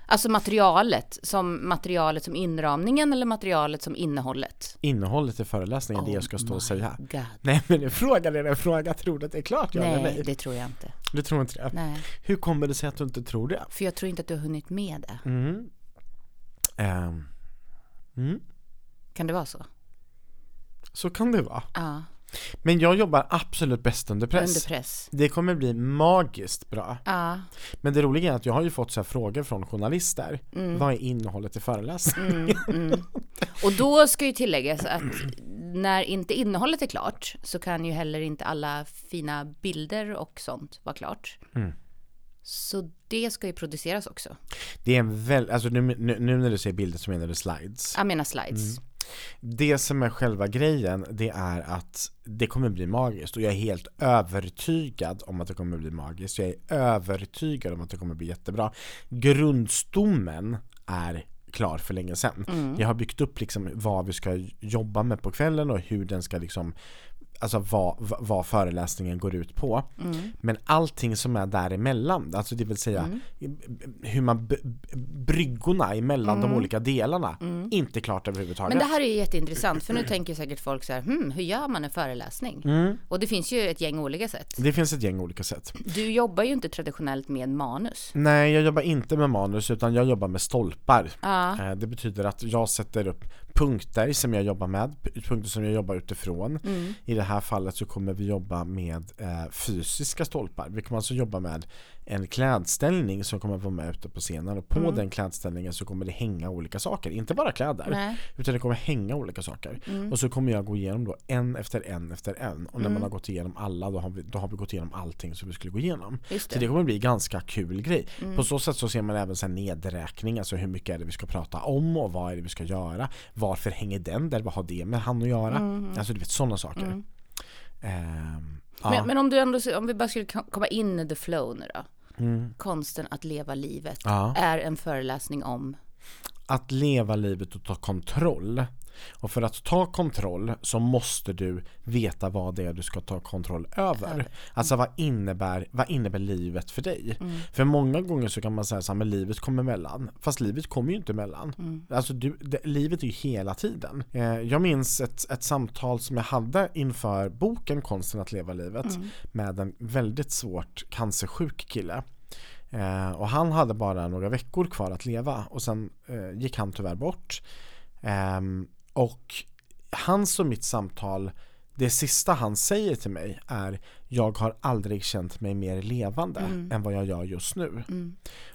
Alltså materialet som materialet som inramningen eller materialet som innehållet?
Innehållet i föreläsningen, det jag ska stå
my
och säga.
God.
Nej men jag frågade en fråga, tror du att det är klart? Ja eller
Nej,
nej?
det tror jag inte.
Du tror inte det?
Nej,
Hur kommer det sig att du inte tror det?
för jag tror inte att du har hunnit med det.
Mm. Ehm, Mm.
Kan det vara så?
så kan det vara.
Ja,
Men jag jobbar absolut bäst under press.
under press.
Det kommer bli magiskt bra.
Ja,
Men det roliga är att jag har ju fått så här frågor från journalister.
Mm.
Vad är innehållet i föreläsningen?
och då ska ju tilläggas att när inte innehållet är klart så kan ju heller inte alla fina bilder och sånt vara klart.
Mm.
Så det ska ju produceras också.
Det är en väl, alltså nu, nu, nu när du ser bilder så menar du slides.
Jag menar slides.
Mm. Det som är själva grejen, det är att det kommer bli magiskt och jag är helt övertygad om att det kommer bli magiskt. Jag är övertygad om att det kommer bli jättebra. Grundstommen är klar för länge sedan.
Mm.
Jag har byggt upp liksom vad vi ska jobba med på kvällen och hur den ska liksom Alltså vad, vad- vad föreläsningen går ut på.
Mm.
Men allting som är däremellan, alltså det vill säga
Mm.
hur man b- b- bryggorna emellan de olika delarna, inte klart överhuvudtaget.
Mm. Men det här är ju jätteintressant för nu tänker säkert folk så här, hmm, hur gör man en föreläsning?
Mm.
Och det finns ju ett gäng olika sätt.
Det finns ett gäng olika sätt.
Du jobbar ju inte traditionellt med manus.
Nej, jag jobbar inte med manus utan jag jobbar med stolpar.
Ja.
Eh, Det betyder att jag sätter upp punkter som jag jobbar med, p- punkter som jag jobbar utifrån.
Mm.
I det här fallet så kommer vi jobba med eh, fysiska stolpar. Vi kommer alltså jobba med en klädställning som kommer vara med ute på scenen och
Mm.
på den klädställningen så kommer det hänga olika saker. Inte bara kläder,
Nej. Mm.
utan det kommer hänga olika saker. Och så kommer jag gå igenom då en efter en efter en och när man har gått igenom alla då har, vi, då har vi gått igenom allting som vi skulle gå igenom.
Just det.
Så det kommer bli en ganska kul grej. På så sätt så ser man även sen nedräkning, alltså hur mycket är det vi ska prata om och vad är det vi ska göra. Varför hänger den där? Vad har det med han att göra? Alltså du vet sådana saker. Ehm, ja.
Men, men om, du ändå, om vi bara skulle ko- komma in i the flow nu då. Konsten att leva livet
Mm. Ja.
är en föreläsning om.
Att leva livet och ta kontroll. Och för att ta kontroll så måste du veta vad det är du ska ta kontroll över. Alltså vad innebär, vad innebär livet för dig? För många gånger så kan man säga så här, men livet kommer emellan. Fast livet kommer ju inte emellan. Alltså du, det, livet är ju hela tiden. Eh, jag minns ett, ett samtal som jag hade inför boken Konsten att leva livet med en väldigt svårt cancersjuk kille. Eh, och han hade bara några veckor kvar att leva och sen eh, gick han tyvärr bort. Ehm, och hans och mitt samtal, det sista han säger till mig är jag har aldrig känt mig mer levande än vad jag gör just nu.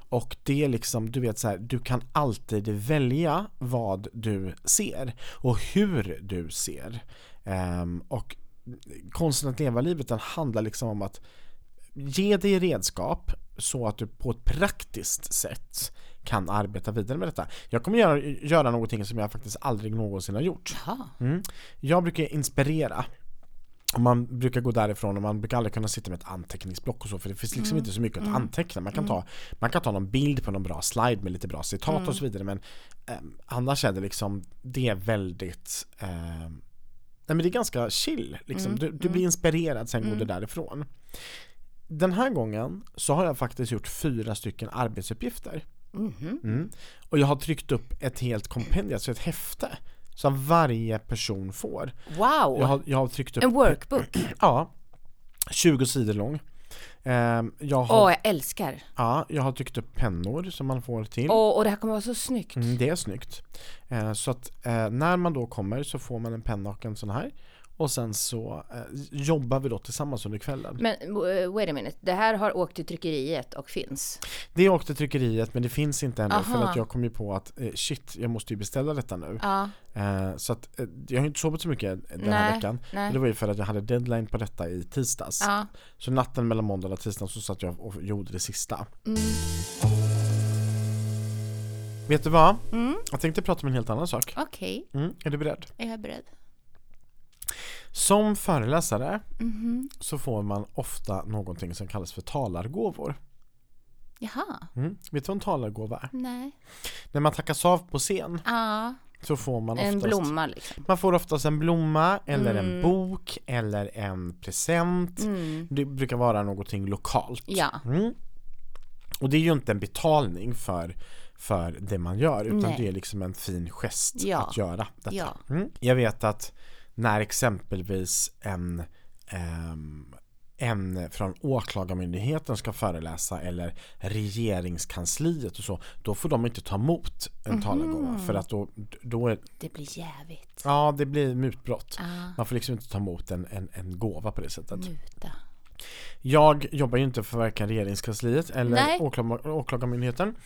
Och det är liksom, du vet så här, du kan alltid välja vad du ser och hur du ser. Ehm, och konsten att leva livet den handlar liksom om att ge dig redskap så att du på ett praktiskt sätt kan arbeta vidare med detta. Jag kommer göra, göra någonting som jag faktiskt aldrig någonsin har gjort.
Jaha,
Mm. Jag brukar inspirera. Och man brukar gå därifrån och man brukar aldrig kunna sitta med ett anteckningsblock och så för det finns liksom inte så mycket att anteckna. Man kan, ta, man kan ta någon bild på någon bra slide med lite bra citat och så vidare men ehm, annars är det liksom, det är väldigt ehm, Nej men det är ganska chill liksom. du, du blir inspirerad sen går du därifrån. Den här gången så har jag faktiskt gjort fyra stycken arbetsuppgifter.
Mhm.
Mm. Och jag har tryckt upp ett helt kompendium, alltså ett häfte. Som varje person får.
wow!
Jag har, jag har tryckt upp,
En workbook.
ja, 20 sidor lång. Ehm, jag, har,
Åh, jag älskar.
ja, jag har tryckt upp pennor som man får till.
Åh, och det här kommer vara så snyggt.
Mm, det är snyggt. Eh, så att eh, när man då kommer så får man en penna och en sån här. Och sen så eh, jobbar vi då tillsammans under kvällen.
Men eh, wait a minute, det här har åkt till tryckeriet och finns.
Det åkte tryckeriet men det finns inte ännu för
Aha.
att jag kom ju på att eh, shit, jag måste ju beställa detta nu.
Ja,
Eh, så att eh, jag har inte sovit så mycket den här
Nej,
veckan.
nej.
Och Det var ju för att jag hade deadline på detta i tisdags.
ja. Mm.
Så natten mellan måndag och tisdag så satt jag och gjorde det sista. Vet du vad?
Mm.
Jag tänkte prata om en helt annan sak.
Okej,
Mm. Är du beredd?
är jag beredd?
Som föreläsare
Mhm.
så får man ofta någonting som kallas för talargåvor.
Jaha,
Mm. Vet du vad en talargåva är?
nej.
När man tackas av på scen
Ja,
så får man oftast
en blomma liksom.
Man får oftast en blomma eller en
Mm.
bok eller en present.
Mm.
Det brukar vara någonting lokalt.
Ja,
Mm. Och det är ju inte en betalning för, för det man gör utan
Nej.
det är liksom en fin gest
Ja.
att göra detta.
ja.
Mm. Jag vet att när exempelvis en, ehm, en från Åklagarmyndigheten ska föreläsa eller regeringskansliet och så, då får de inte ta emot en
Mhm.
talargåva för att då, då är,
Det blir jävigt.
ja det blir mutbrott.
Ah,
Man får liksom inte ta emot en, en, en gåva på det sättet.
muta.
Jag jobbar ju inte för varken regeringskansliet eller
Nej.
åklag, åklagarmyndigheten.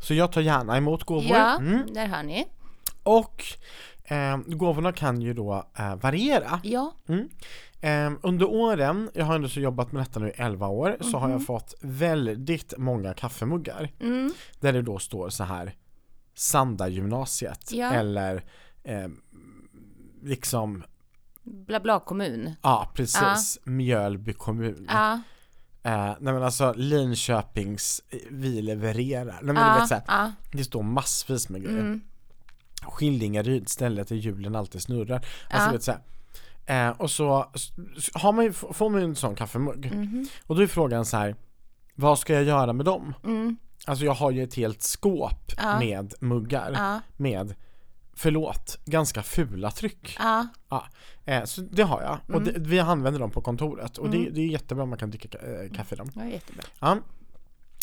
Så jag tar gärna emot gåvor.
Ja,
Mm.
där har ni.
Och eh, gåvorna kan ju då eh, variera.
Ja,
Eh, under åren, jag har ändå så jobbat med detta nu i 11 år, så har jag fått väldigt många kaffemuggar.
Mhm. mm.
Där det då står så här Sanda gymnasiet
Ja.
eller eh, liksom,
bla bla kommun.
ja precis, Mjölby kommun.
Ja,
Eh, nej men alltså Linköpings, eh, vi levererar. Nej men du
ja,
vet så här,
ja.
det står massvis med grejer.
Mm.
Skillingaryd, stället där hjulen alltid snurrar. Alltså
Ja.
du vet så här. Eh, och så s- s- har man ju, f- får man ju en sån kaffemugg.
Mhm.
Och då är frågan så här, vad ska jag göra med dem?
Mm.
Alltså jag har ju ett helt skåp
Ja.
med muggar
Ja,
med, förlåt, ganska fula tryck.
ja, Mm.
Ja, eh, så det har jag. Och det, vi använder dem på kontoret och det, det är jättebra man kan dricka ka- eh, kaffe i dem.
det var jättebra.
Ja.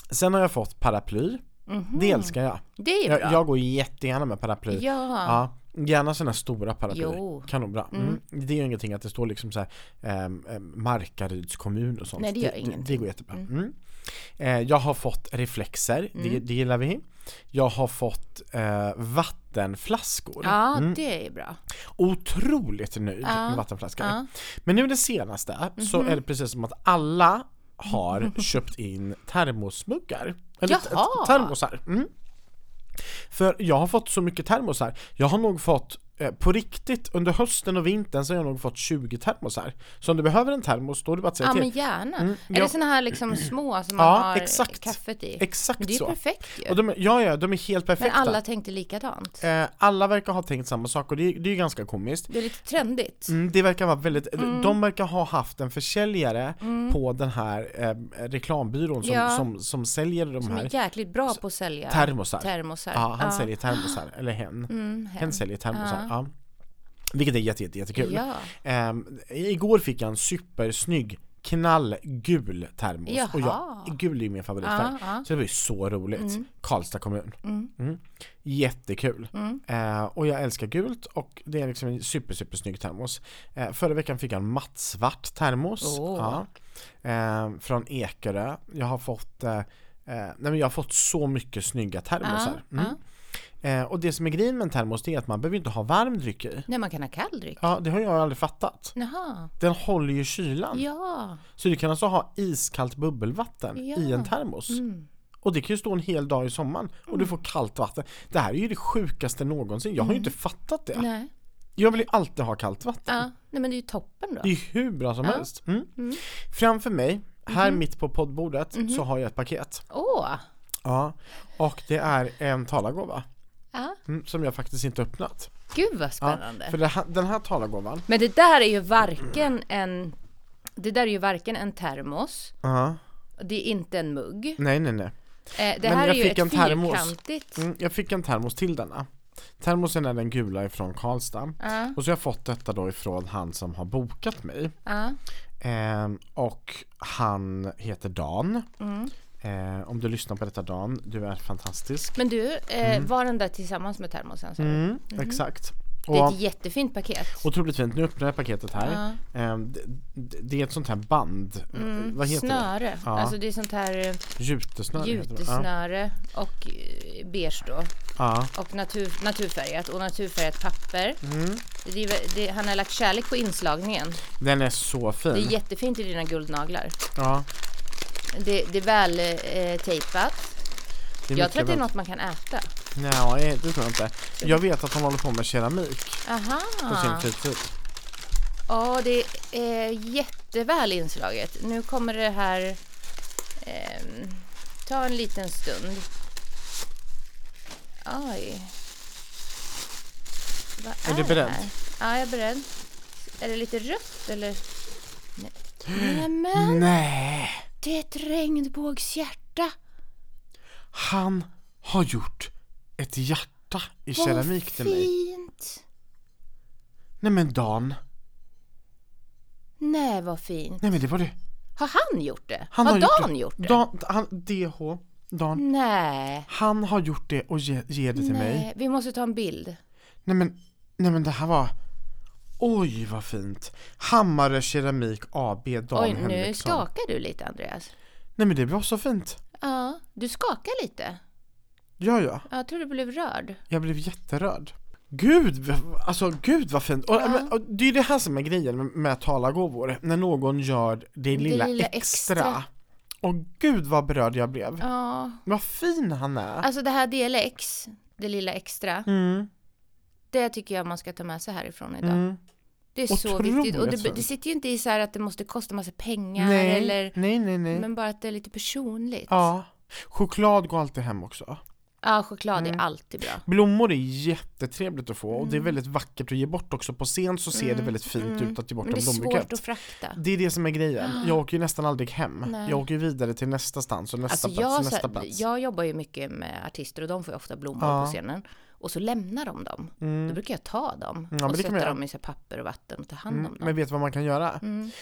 Sen har jag fått paraply.
Mhm.
Det älskar jag.
Det är bra.
jag. Jag går jättegärna med paraply.
ja.
Ja, gärna sådana stora paraplyer.
Jo.
Kanonbra. Mm. Det är ju ingenting att det står liksom så här, ehm, ehm, Markaryds kommun och sånt.
Nej, det gör
det, det
ingenting.
går jättebra. Mm. Eh, jag har fått reflexer, det,
Mm.
det gillar vi. Jag har fått eh, vattenflaskor.
ja
Mm.
det är bra.
Otroligt nöjd
Ja,
med vattenflaskor.
ja. Mhm.
Men nu det senaste så är det precis som att alla har köpt in termosmuggar. Eller t-
Jaha.
termosar. Mm. För jag har fått så mycket termosar. Jag har nog fått eh, på riktigt, under hösten och vintern så har jag nog fått 20 termosar. Så om du behöver en termos, då är det bara att säga
Ja, men
till.
gärna. Är
ja.
det såna här liksom små som man
Ja,
har
exakt.
kaffet i?
Exakt
Det är ju
så.
perfekt ju.
Och de, är- ja, ja, de är helt
Men
perfekta.
alla tänkte likadant.
Eh, alla verkar ha tänkt samma sak och det, är- det är ju ganska komiskt.
Det är lite trendigt.
Mm, det verkar vara väldigt, de verkar ha haft en försäljare på den här eh, reklambyrån som,
Ja.
som, som säljer de
De
här
är jäkligt bra på att sälja
termosar.
termosar.
Ja, han säljer termosar, eller hen.
Mm,
Hen säljer termosar, ja. Vilket är jätte, jätte, jättekul.
Ja.
Ehm, igår fick jag en supersnygg knallgul termos och
Jaha.
jag, gul är ju min favoritfärg.
Ja, ja.
Så det var ju så roligt. Karlstad kommun.
Mm.
Mm. Jättekul. Eh, och jag älskar gult och det är liksom en super, super snygg termos. Eh, förra veckan fick jag en mattsvart termos.
Åh.
Ja. Eh, från Ekerö. Jag har fått eh, eh, Nej men jag har fått så mycket snygga termosar.
Ja,
Mm. Eh, och det som är grejen med en termos det är att man behöver inte ha varm dryck i.
Nej, man kan ha kall dryck.
Ja det har jag aldrig fattat.
Jaha.
Den håller ju kylan.
Ja.
Så du kan alltså ha iskallt bubbelvatten
Ja.
i en termos.
Mm.
Och det kan ju stå en hel dag i sommaren och du får kallt vatten. Det här är ju det sjukaste någonsin. Jag har ju inte fattat det.
Mm. Nej.
Jag vill ju alltid ha kallt vatten.
Ja. Nej, men det är ju toppen då.
Det är ju hur bra som helst. Mm. Framför mig, här
Mm-hmm.
mitt på poddbordet, så har jag ett paket.
Åh.
Ja. Och det är en talargåva.
Ja.
Mm, som jag faktiskt inte öppnat.
Gud vad
Ja,
spännande.
för det här, den här talargåvan,
Men det där är ju varken en det där är ju varken en termos,
ja.
det är inte en mugg.
nej nej nej.
Eh, det
Men
här är
jag
ju
fick
ett
en termos.
fyrkantigt.
Mm, jag fick en termos till denna. Termosen är den gula ifrån Karlstad.
Ja,
Och så har jag fått detta då ifrån han som har bokat mig.
ja.
Ehm, och han heter Dan.
Mm.
Ehm, om du lyssnar på detta Dan, du är fantastisk.
Men du, eh, var den där tillsammans med termosen? sa du?
Mm, Exakt.
Det är
Och,
ett jättefint paket.
otroligt fint, nu öppnar jag paketet här. Ehm, d- d- det är ett sånt här band.
Mm.
Eh, Vad heter det?
Snöre.
Ja.
Alltså det är sånt här eh,
Jutesnöre heter det. Ja.
jutesnöre och eh, beige då.
Ja.
Och natur, naturfärgat. Och naturfärgat papper.
Mm.
Det är, väl- det, han har lagt kärlek på inslagningen.
Den är så fin.
Det är jättefint i dina guldnaglar.
ja,
Det, det är väl eh, tejpat.
det är
Jag tror att det är
mycket
något man kan äta.
Nej, det tror jag inte. Jag vet att hon håller på med keramik
Aha.
på
Ah.
sin fritid.
Ja, det är jätteväl inslaget. Nu kommer det här... ehm, ta en liten stund. Oj. Vad
Är du
det
beredd?
här? Ja, jag är beredd. Är det lite rött eller?
Mm.
Nej, men
Nej,
det är ett regnbågshjärta.
han har gjort ett hjärta i
Vad
keramik till mig.
fint.
Nej men Dan,
Nej, vad fint.
nej men det var det.
Har han gjort det?
Han
har,
gjort
Dan
det.
gjort det? Mm.
Dan, han, DH, Dan.
Nej.
Han har gjort det och ge, ger det till mig.
Nej, vi måste ta en bild.
Nej men, nej men det här var... Oj vad fint! Hammare Keramik AB Dan
Oj, nu
Henriksson.
skakar du lite Andreas.
Nej men det var så fint.
Ja, du skakar lite.
Ja ja,
Ja, Jag tror du blev rörd.
jag blev jätterörd. Gud, v- alltså gud vad fint! Och, men, och det är det här som är grejen med, med talargåvor, när någon gör det lilla,
lilla
extra.
extra.
Och gud vad berörd jag blev.
Ja,
Vad fin han är.
alltså det här DLX, det lilla extra,
Mm,
det tycker jag man ska ta med sig härifrån idag.
mm.
Det är så
Otroligt
viktigt. Och det,
fint.
det sitter ju inte i så här att det måste kosta massa pengar
nej,
eller,
nej, nej, nej.
men bara att det är lite personligt.
Ja. Choklad går alltid hem också.
Ja, choklad
Mm.
är alltid bra.
Blommor är jättetrevligt att få och
Mm.
det är väldigt vackert att ge bort också. På scen så ser det väldigt fint ut att ge bort
Men det
en
är
blombukett.
svårt att frakta.
Det är det som är grejen. Jag åker ju nästan aldrig hem.
Nej.
Jag åker ju vidare till nästa stans och nästa
Alltså
plats
jag,
och nästa
så,
plats.
jag jobbar ju mycket med artister och de får ju ofta blommor
Ja.
på scenen. Och så lämnar de dem.
Mm,
Då brukar jag ta dem
men
och
det kan man
sätta
göra.
dem i så här papper och vatten och ta hand om dem.
mm,
Mm.
Men vet du vad man kan göra?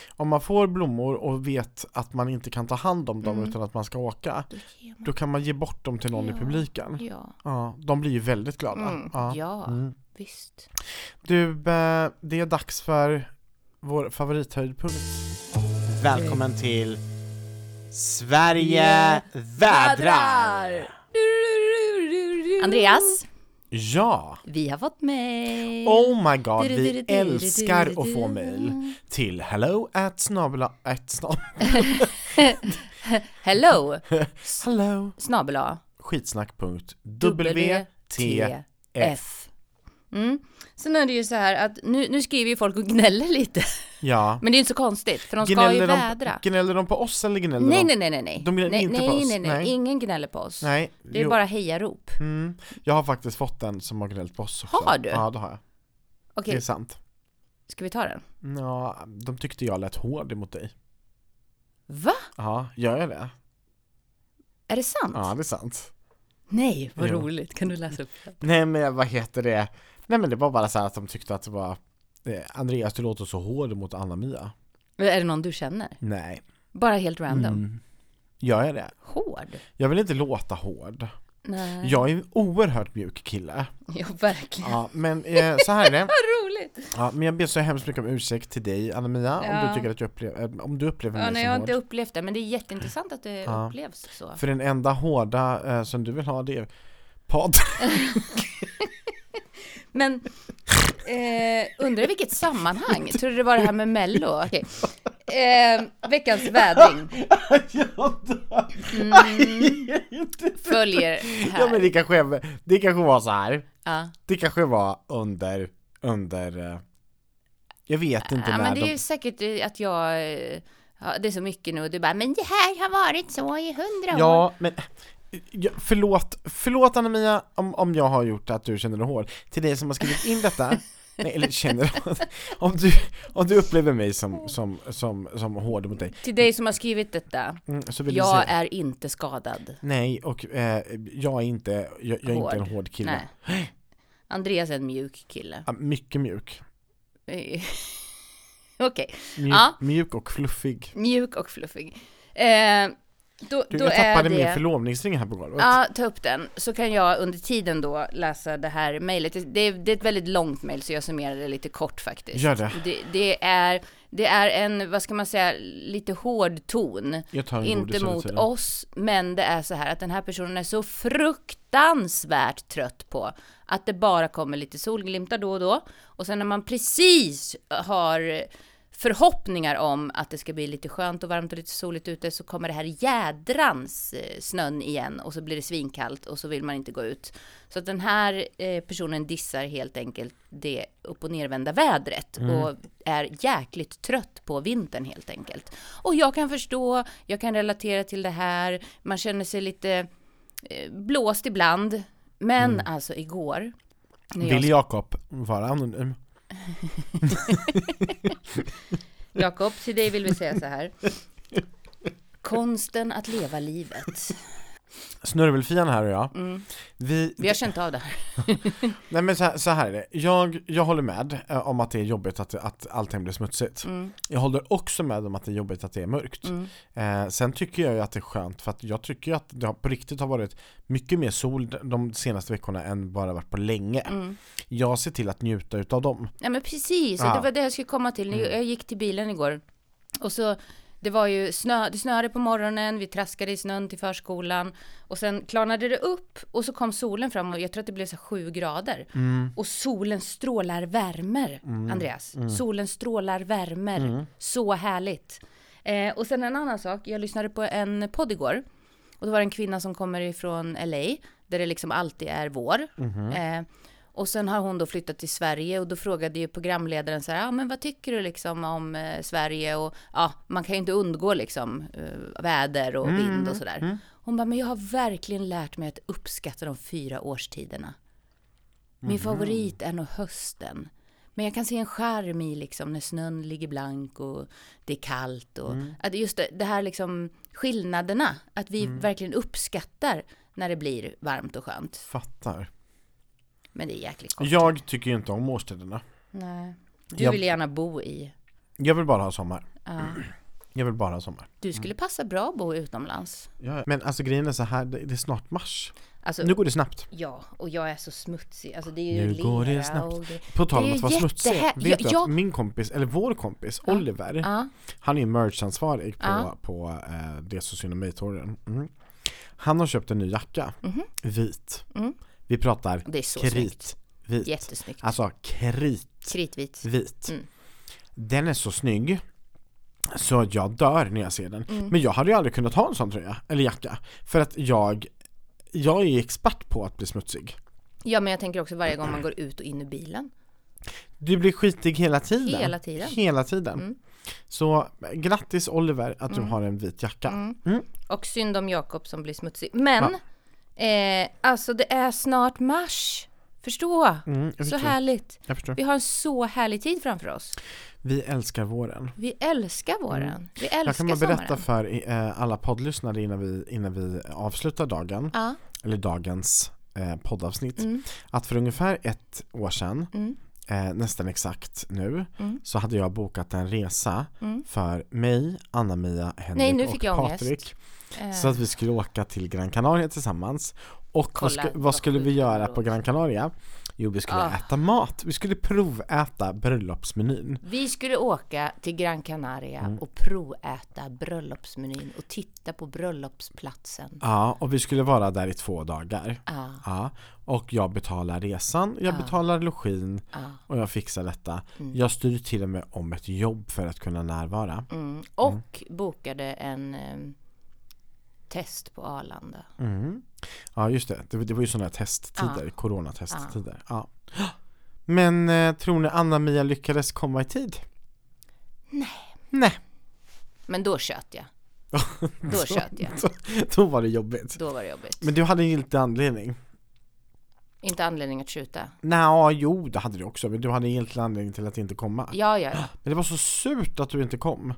Om man får blommor och vet att man inte kan ta hand om dem utan att man ska åka,
Då ger man-
då kan man ge bort dem till någon i
Mm. Ja.
publiken.
Ja,
Ja, de blir ju väldigt glada.
mm.
Ja.
ja
Mm.
visst.
Du, eh, det är dags för vår favorithöjdpunkt.
Välkommen till eh, Sverige vädrar!
Andreas,
Ja!
vi har fått mail.
Oh my god, vi älskar att få mail till hello at snabla at snab
Hello,
hello
snabel A.
skitsnack.wtf
F. Mm. Sen är det ju så här att nu, nu skriver ju folk och gnäller lite.
Ja.
Men det är inte så konstigt, för de ska ju vädra.
de, gnäller de på oss eller gnäller
Nej,
de?
nej, nej, nej, nej.
De gnäller
nej,
inte på
nej,
oss.
Nej, nej,
Nej.
ingen gnäller på oss.
nej.
Det är
jo.
bara hejarop.
Mm. Jag har faktiskt fått en som har gnällt på oss också.
Har du?
Ja, det har jag.
Okej,
Det är sant.
ska vi ta den?
Ja, de tyckte jag lät hård mot dig.
Va?
Ja, gör jag det?
Är det sant?
Ja, det är sant.
Nej, vad
Jo.
roligt. Kan du läsa upp den?
Nej men vad heter det? Nej men det var bara så här att de tyckte att det var eh, Andreas du låter så hård mot Anna-Mia.
Är det någon du känner?
Nej.
Bara helt random.
Mm. Gör jag det?
Hård?
Jag vill inte låta hård.
Nej.
Jag är en oerhört mjuk kille.
Ja, verkligen.
Ja, men eh, så här är det.
Vad roligt!
Ja, men jag ber så hemskt mycket om ursäkt till dig Anna-Mia om
Ja.
du tycker att jag upplever, eh, om du upplever
Ja,
mig
nej, jag
som
har
hård.
inte upplevt det, men det är jätteintressant att det
Ja.
upplevs så.
För den enda hårda eh, som du vill ha det är podd.
Men eh, undrar i vilket sammanhang? Tror du det var det här med Mello? Okej. Eh, veckans vädring Mm.
Jag dör. Jag är inte-
följer
ja men
här.
det kanske, det kanske var så här.
Ja.
Det kanske var under, under, eh, jag vet inte
Ja,
när
men det är
de,
ju säkert eh, att jag... eh, Ja, det är så mycket nu och du bara, men det här har varit så i hundra år.
Ja men, ja, förlåt, förlåt Anna-Mia om, om jag har gjort att du känner dig hård. Till dig som har skrivit in detta, nej eller känner, om du, om du upplever mig som, som, som, som hård mot dig,
Till dig som har skrivit detta,
mm, så vill jag
jag
säga
är inte skadad.
Nej, och eh, jag är inte, jag, jag är inte en
Hård.
hård kille.
Nej. Andreas är en mjuk kille.
Ja, Mycket mjuk.
Eh, Okej,
Mjuk,
Ja.
mjuk och fluffig.
mjuk och fluffig. Eh, då,
Du,
då
jag
är
tappade
det...
min förlovningsring här på golvet.
Ja, ta upp den. Så kan jag under tiden då läsa det här mejlet. Det, det, det är ett väldigt långt mejl så jag summerar det lite kort faktiskt.
Gör det.
Det, det är, det är en, vad ska man säga, lite hård ton.
Jag tar en godis
Inte
under
mot
tiden.
oss, men det är så här att den här personen är så fruktansvärt trött på att det bara kommer lite solglimtar då och då. Och sen när man precis har förhoppningar om att det ska bli lite skönt och varmt och lite soligt ute så kommer det här jädrans eh, snön igen och så blir det svinkallt och så vill man inte gå ut. Så att den här eh, personen dissar helt enkelt det upp och nervända vädret och är jäkligt trött på vintern helt enkelt. Och jag kan förstå, jag kan relatera till det här, man känner sig lite eh, blåst ibland. Men alltså igår, när jag
Vill Jakob vara anonym?
Jakob, till dig vill vi säga så här. Konsten att leva livet. Mm.
Snörvelfian här och jag. Vi,
Vi har känt av det här.
Nej men så här, så här är det, jag, jag håller med eh, om att det är jobbigt att, att allting blir
Mm.
smutsigt. Jag håller också med om att det är jobbigt att det är mörkt. Eh, sen tycker jag ju att det är skönt för att jag tycker ju att det har, på riktigt har varit mycket mer sol de- de senaste veckorna än bara varit på länge.
Mm.
Jag ser till att njuta utav dem.
Ja men precis, och
Ja.
det var det jag skulle komma till. Jag gick till bilen igår och så det var ju snö, det snöade på morgonen, vi traskade i snön till förskolan och sen klarnade det upp och så kom solen fram och jag tror att det blev så här sju grader. Och solen strålar värmer, Andreas. Solen strålar värmer. Så härligt. Eh, och sen en annan sak, jag lyssnade på en podd igår och då var det en kvinna som kommer ifrån LA där det liksom alltid är vår. Eh, och sen har hon då flyttat till Sverige och då frågade ju programledaren så här, ja ah, men vad tycker du liksom om eh, Sverige och ja, man kan ju inte undgå liksom eh, väder och vind och sådär. Hon bara, men jag har verkligen lärt mig att uppskatta de fyra årstiderna. Min favorit är nog hösten. Men jag kan se en charm i liksom när snön ligger blank och det är kallt och
Mm.
att just det, det här liksom skillnaderna, att vi
Mm.
verkligen uppskattar när det blir varmt och skönt.
Fattar.
Men det är jäkligt kort.
Jag tycker ju inte om årstiderna.
Nej. Du
Jag-
vill gärna bo i,
Jag vill bara ha sommar.
ja.
Jag vill bara ha sommar.
Du skulle passa bra att bo utomlands.
Ja, Men alltså grejen är så här, det, det är snart mars.
Alltså,
Nu går det snabbt.
ja, och jag är så smutsig. Alltså det är ju
Nu
lera
går det
och
snabbt.
det...
På tal
Det
om
är
att vara
jättehär-
smutsig.
Ja,
Vet du
jag-
att min kompis, eller vår kompis, Oliver,
Ja,
han är merch-ansvarig på,
Ja.
på eh, det som synd om mig torgen. mm. Han har köpt en ny jacka. Vit.
Mhm. Mm.
Vi pratar
det är så snyggt.
kritvit.
Jättesnyggt.
Alltså kritvit.
Kritvit. Mm.
Den är så snygg. Så jag dör när jag ser den.
Mm.
Men jag hade ju aldrig kunnat ha en sån tröja, eller jacka. För att jag, jag är ju expert på att bli smutsig.
Ja, men jag tänker också varje gång man går ut och in i bilen.
Du blir skitig hela tiden.
Hela tiden. Mm.
Hela tiden. Så grattis Oliver att du har en vit jacka.
Mm. Och synd om Jakob som blir smutsig. Men, eh, alltså det är snart mars. Förstå!
Mm, jag
så
förstår.
härligt.
Jag förstår.
Vi har en så härlig tid framför oss.
Vi älskar våren.
Vi älskar våren. Vi
Jag
älskar
Mm. kan bara berätta
sommaren.
för eh, alla poddlyssnare innan vi, innan vi avslutar dagen,
Ja,
eller dagens eh, poddavsnitt,
Mm.
att för ungefär ett år sedan,
Mm.
eh, nästan exakt nu,
Mm.
så hade jag bokat en resa
Mm.
för mig, Anna-Mia, Henrik
nu
och
fick jag ångest.
Patrik.
eh,
Så att vi skulle åka till Gran Canaria tillsammans. Och
Kolla,
vad, sku, vad
vad
skulle vi
sjukt
göra
gott.
på Gran Canaria? Jo, vi skulle
Ah.
äta mat. Vi skulle proväta bröllopsmenyn.
vi skulle åka till Gran Canaria
Mm.
och proväta bröllopsmenyn och titta på bröllopsplatsen.
Ja, och vi skulle vara där i två dagar.
Ja,
Ja, och jag betalar resan,
Ah.
jag betalar login
ja.
och jag fixar detta. Jag styr till och med om ett jobb för att kunna närvara.
Mm. Och bokade en eh, test på Arlanda.
Ja, just det. Det, det var ju sådana här testtider, coronatesttider. Ja. Men eh, tror ni Anna-Mia lyckades komma i tid? Nej. Nej.
Men då tjöt jag. Då tjöt jag.
Så, då var det jobbigt.
Då var det jobbigt.
Men du hade en giltig anledning.
Inte anledning att skjuta.
Nej, jo det hade du också, men du hade en giltig anledning till att inte komma.
Ja, ja, ja.
Men det var så surt att du inte kom.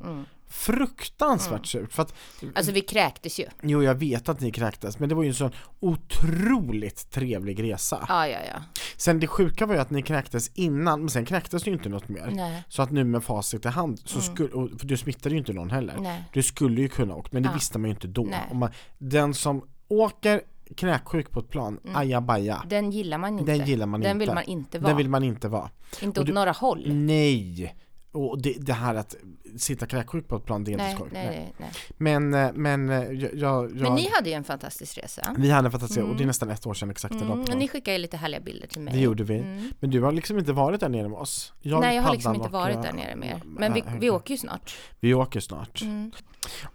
Fruktansvärt
Mm.
surt. För att,
Alltså vi kräktes ju.
jo jag vet att ni kräktes, men det var ju en sån otroligt trevlig resa.
Ja, ja, ja.
Sen det sjuka var ju att ni kräktes innan, men sen kräktes det ju inte något mer.
Nej. Mm.
Så att nu med facit i hand, så skulle, och, för du smittade ju inte någon heller.
Nej.
Du skulle ju kunna åkt, men det visste man ju inte då.
Nej.
Om man, den som åker kräksjuk på ett plan, ajabaja.
Den gillar man inte.
Den gillar man
Mm. Den
inte.
vill man inte vara.
Den vill man inte vara.
Inte
och Mm.
åt
du-
några håll.
Nej! Och det, det här att sitta kräksjuk på ett plan, det är inte
Nej,
skoj.
nej, nej, nej.
Men, eh, men eh, jag, jag, Mm.
Men
jag
ni hade ju en fantastisk resa.
vi hade fattat se och det är nästan ett år sedan exakt
Mm,
idag. på
och ni
dagen.
skickade ju lite härliga bilder till mig.
Det gjorde vi.
Mm.
Men du har liksom inte varit där nere med oss. Jag,
Nej, jag har
Paddan
liksom inte
och, Mm.
varit
eh,
där nere mer. Men vi,
nej,
vi
okej.
åker ju snart.
Vi åker snart.
Mm.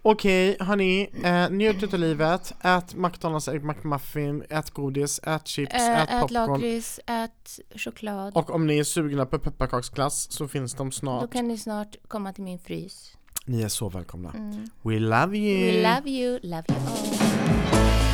Okej, hörni. Eh, njut av livet. Ät McDonalds ägg McMuffin. Ät godis. Ät chips.
Äh,
ät
ät
popcorn.
lakrits, ät choklad.
Och om ni är sugna på pepparkaksglass så finns de
Då
snart.
kan ni snart komma till min frys.
Ni är så välkomna.
Mm.
We love you!
We love you, love you all.